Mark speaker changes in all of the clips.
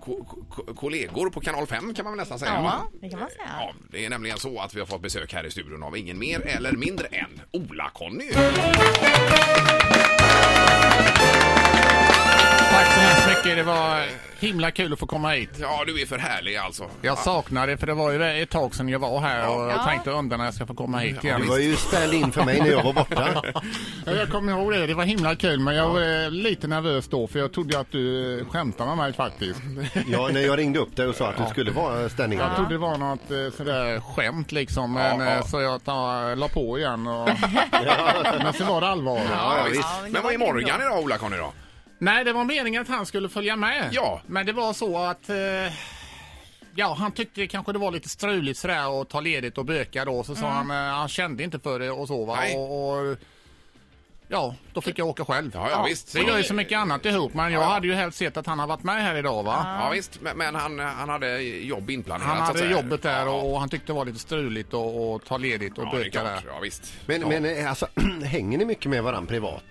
Speaker 1: ko- ko- kollegor på kanal 5 kan man väl nästan säga.
Speaker 2: Ja,
Speaker 1: va?
Speaker 2: det kan man säga.
Speaker 1: Ja, det är nämligen så att vi har fått besök här i studion av ingen mer eller mindre än Ola-Conny.
Speaker 3: Tack så hemskt mycket. Det var himla kul att få komma hit.
Speaker 1: Ja, du är för härlig alltså.
Speaker 3: Jag saknar det för det var ju ett tag sedan jag var här och
Speaker 2: Ja.
Speaker 3: jag tänkte undra när jag ska få komma hit igen.
Speaker 4: Det var ju stand-in för mig när jag var borta.
Speaker 3: Ja, jag kommer ihåg det. Det var himla kul men jag var eh, lite nervös då för jag trodde ju att du eh, skämtade med mig faktiskt.
Speaker 4: Ja, när jag ringde upp dig och sa att du skulle vara stand-in.
Speaker 3: Jag trodde det var något eh, sådär skämt liksom men,
Speaker 1: Ja, ja.
Speaker 3: eh, så jag tar, la på igen och... Men så var det allvar.
Speaker 1: Ja, visst.
Speaker 2: Ja, men
Speaker 1: men
Speaker 2: det
Speaker 1: vad
Speaker 2: var
Speaker 1: är
Speaker 2: kul då.
Speaker 1: Morgan idag Ola-Conny då?
Speaker 3: Nej, det var meningen att han skulle följa med.
Speaker 1: Ja.
Speaker 3: Men det var så att... Eh, ja, han tyckte kanske det var lite struligt sådär att ta ledigt och böka då. Så sa han, eh, han kände inte för det och så va.
Speaker 1: Mm. Nej.
Speaker 3: Och, och, ja, då fick jag åka själv.
Speaker 1: Ja, ja, visst.
Speaker 3: Vi gör ju så mycket annat ihop men jag hade ju helst sett att han hade varit med här idag va.
Speaker 1: Ja, visst. Men, men han, han hade jobb inplanerat
Speaker 3: Han
Speaker 1: så att
Speaker 3: hade
Speaker 1: säga.
Speaker 3: jobbet där
Speaker 1: Ja,
Speaker 3: och, och han tyckte det var lite struligt att och ta ledigt och
Speaker 1: ja, det är
Speaker 3: böka
Speaker 1: klart.
Speaker 3: där.
Speaker 1: Ja, visst.
Speaker 4: Men,
Speaker 1: ja.
Speaker 4: men eh, alltså, hänger ni mycket med varandra privat?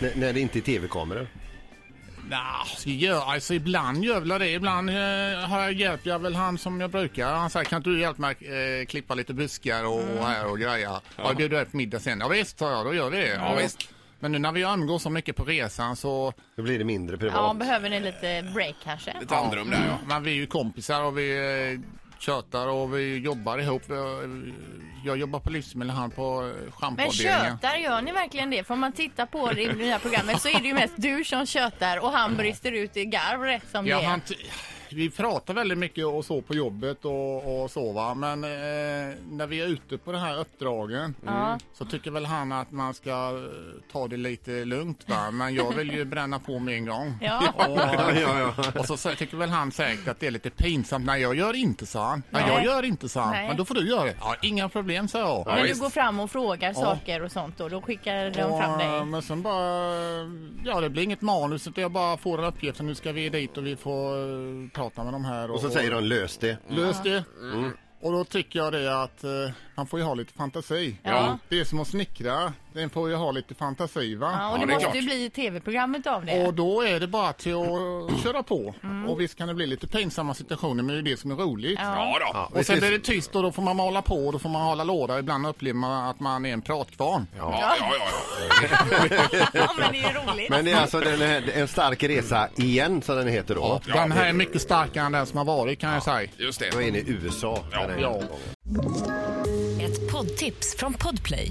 Speaker 4: N när det inte är tv-kameror?
Speaker 3: Nah, gör, alltså ibland gör väl det. Ibland eh, har jag hjälpt jag väl han som jag brukar. Han säger kan inte du hjälpa mig att eh, klippa lite buskar och,
Speaker 1: Mm.
Speaker 3: och här och grejer. Ja. Bjuder du på middag sen? Ja visst, sa jag, då gör vi det.
Speaker 1: Ja, visst.
Speaker 3: Men nu när vi umgås så mycket på resan så,
Speaker 4: Då blir det mindre
Speaker 2: Ja,
Speaker 4: privat.
Speaker 2: behöver ni lite break kanske?
Speaker 1: Lite andrum där ja.
Speaker 3: men vi är ju kompisar och vi eh, tjötar och vi jobbar ihop. Jag, jag jobbar på livsmedel, han på eh,
Speaker 2: Men
Speaker 3: schampoavdelningen.
Speaker 2: tjötar, gör ni verkligen det? För om man tittar på det i det nya programmet så är det ju mest du som tjötar och han brister ut i garv rätt som
Speaker 3: Ja,
Speaker 2: det är.
Speaker 3: han t- vi pratar väldigt mycket och så på jobbet och, och så va. Men eh, när vi är ute på de här uppdragen
Speaker 2: Ja. Mm.
Speaker 3: så tycker väl han att man ska eh, ta det lite lugnt va. Men jag vill ju bränna på med en gång.
Speaker 2: Ja.
Speaker 3: Och, och så sä- tycker väl han säkert att det är lite pinsamt. Nej jag gör inte sa han. Nej,
Speaker 2: Nej.
Speaker 3: jag gör inte sa han.
Speaker 2: Nej.
Speaker 3: Men då får du göra det. Ja, inga problem sa jag.
Speaker 2: När du
Speaker 1: visst.
Speaker 2: går fram och frågar saker och sånt och då skickar de fram
Speaker 3: Och,
Speaker 2: dig.
Speaker 3: men sen bara, ja det blir inget manus utan jag bara får en uppgift och nu ska vi dit och vi får eh, prata med de här.
Speaker 4: Och så säger de lös det.
Speaker 3: Lös det.
Speaker 2: Mm.
Speaker 3: Mm. Och då tycker jag det att eh, man får ju ha lite fantasi.
Speaker 2: Ja.
Speaker 3: Det är som att snickra. Den får ju ha lite fantasi va.
Speaker 2: Ja, och
Speaker 1: Ja,
Speaker 2: det
Speaker 1: det är
Speaker 2: måste
Speaker 1: klart.
Speaker 2: ju bli tv-programmet av det. Mm.
Speaker 3: Och då är det bara till att köra på. Och visst kan det bli lite pinsamma situationer men det är det som är roligt.
Speaker 1: Ja då. Ja,
Speaker 3: Och sen
Speaker 4: visst.
Speaker 3: blir det tyst och då får man mala på och då får man hålla låda. Ibland upplever man att man är en pratkvarn.
Speaker 1: ja, ja. ja.
Speaker 2: Ja, men det är ju roligt.
Speaker 4: Men det är alltså den här, en stark resa igen, som den heter då.
Speaker 3: Den här är mycket starkare än den som har varit kan jag säga.
Speaker 1: Just det.
Speaker 4: Då är ni i USA.
Speaker 1: Ja,
Speaker 4: den här
Speaker 3: ja.
Speaker 4: gången.
Speaker 5: Ett poddtips från Podplay.